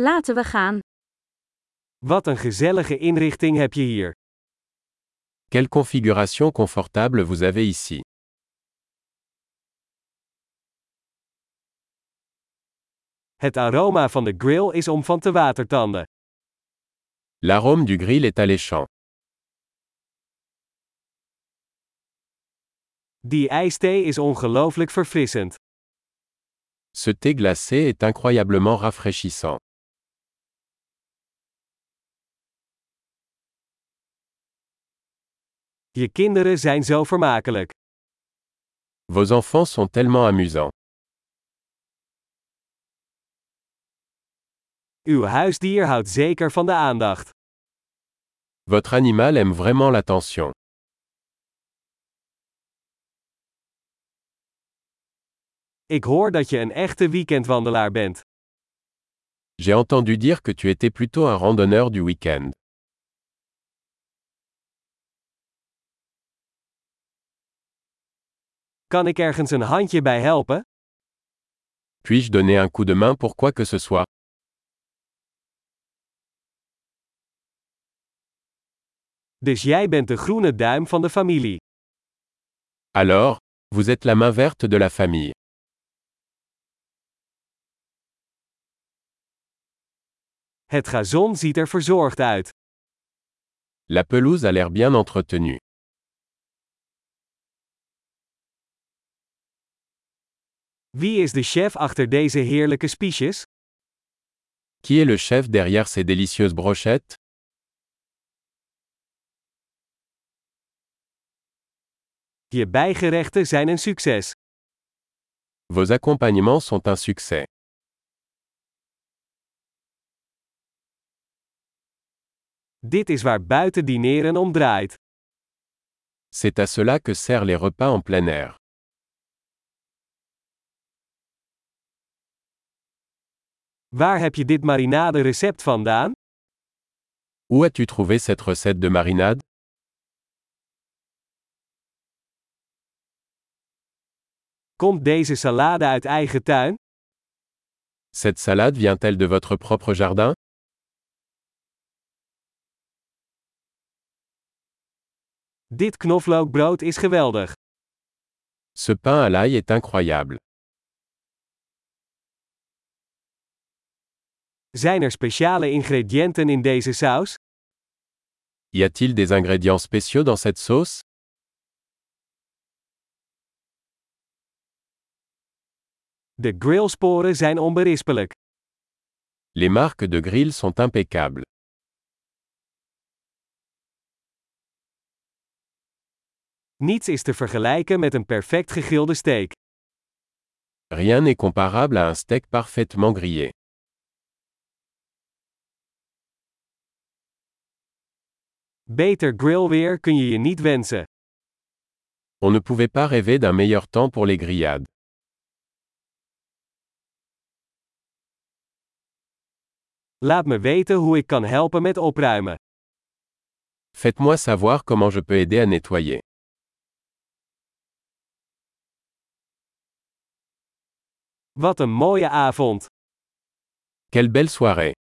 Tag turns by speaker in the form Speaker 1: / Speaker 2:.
Speaker 1: Laten we gaan.
Speaker 2: Wat een gezellige inrichting heb je hier.
Speaker 3: Quelle configuration confortable vous avez ici.
Speaker 2: Het aroma van de grill is om van te watertanden.
Speaker 3: L'arôme du grill est alléchant.
Speaker 2: Die ijsthee is ongelooflijk verfrissend.
Speaker 3: Ce thé glacé est incroyablement rafraîchissant.
Speaker 2: Je kinderen zijn zo vermakelijk.
Speaker 3: Vos enfants sont tellement amusants.
Speaker 2: Uw huisdier houdt zeker van de aandacht.
Speaker 3: Votre animal aime vraiment l'attention.
Speaker 2: Ik hoor dat je een echte weekendwandelaar bent.
Speaker 3: J'ai entendu dire que tu étais plutôt un randonneur du week-end.
Speaker 2: Kan ik ergens een handje bij helpen?
Speaker 3: Puis-je donner un coup de main pour quoi que ce soit
Speaker 2: Dus jij bent de groene duim van de familie.
Speaker 3: Alors, vous êtes la main verte de la famille.
Speaker 2: Het gazon ziet er verzorgd uit.
Speaker 3: La pelouse a l'air bien entretenue.
Speaker 2: Wie is de chef achter deze heerlijke spiesjes?
Speaker 3: Qui est le chef derrière ces délicieuses brochettes
Speaker 2: Je bijgerechten zijn een succes.
Speaker 3: Vos accompagnements sont un succès.
Speaker 2: Dit is waar buiten dineren om draait.
Speaker 3: C'est à cela que servent les repas en plein air.
Speaker 2: Waar heb je dit marinade recept vandaan?
Speaker 3: Où as-tu trouvé cette recette de marinade
Speaker 2: Komt deze salade uit eigen tuin?
Speaker 3: Cette salade vient-elle de votre propre jardin
Speaker 2: Dit knoflookbrood is geweldig.
Speaker 3: Ce pain à l'ail est incroyable.
Speaker 2: Zijn er speciale ingrediënten in deze saus?
Speaker 3: Y a-t-il des ingrédients spéciaux dans cette sauce
Speaker 2: De grillsporen zijn onberispelijk.
Speaker 3: Les marques de grill sont impeccables.
Speaker 2: Niets is te vergelijken met een perfect gegrilde steak.
Speaker 3: Rien n'est comparable à un steak parfaitement grillé.
Speaker 2: Beter grillweer kun je je niet wensen.
Speaker 3: On ne pouvait pas rêver d'un meilleur temps pour les grillades.
Speaker 2: Laat me weten hoe ik kan helpen met opruimen.
Speaker 3: Faites-moi savoir comment je peux aider à nettoyer.
Speaker 2: Wat een mooie avond!
Speaker 3: Quelle belle soirée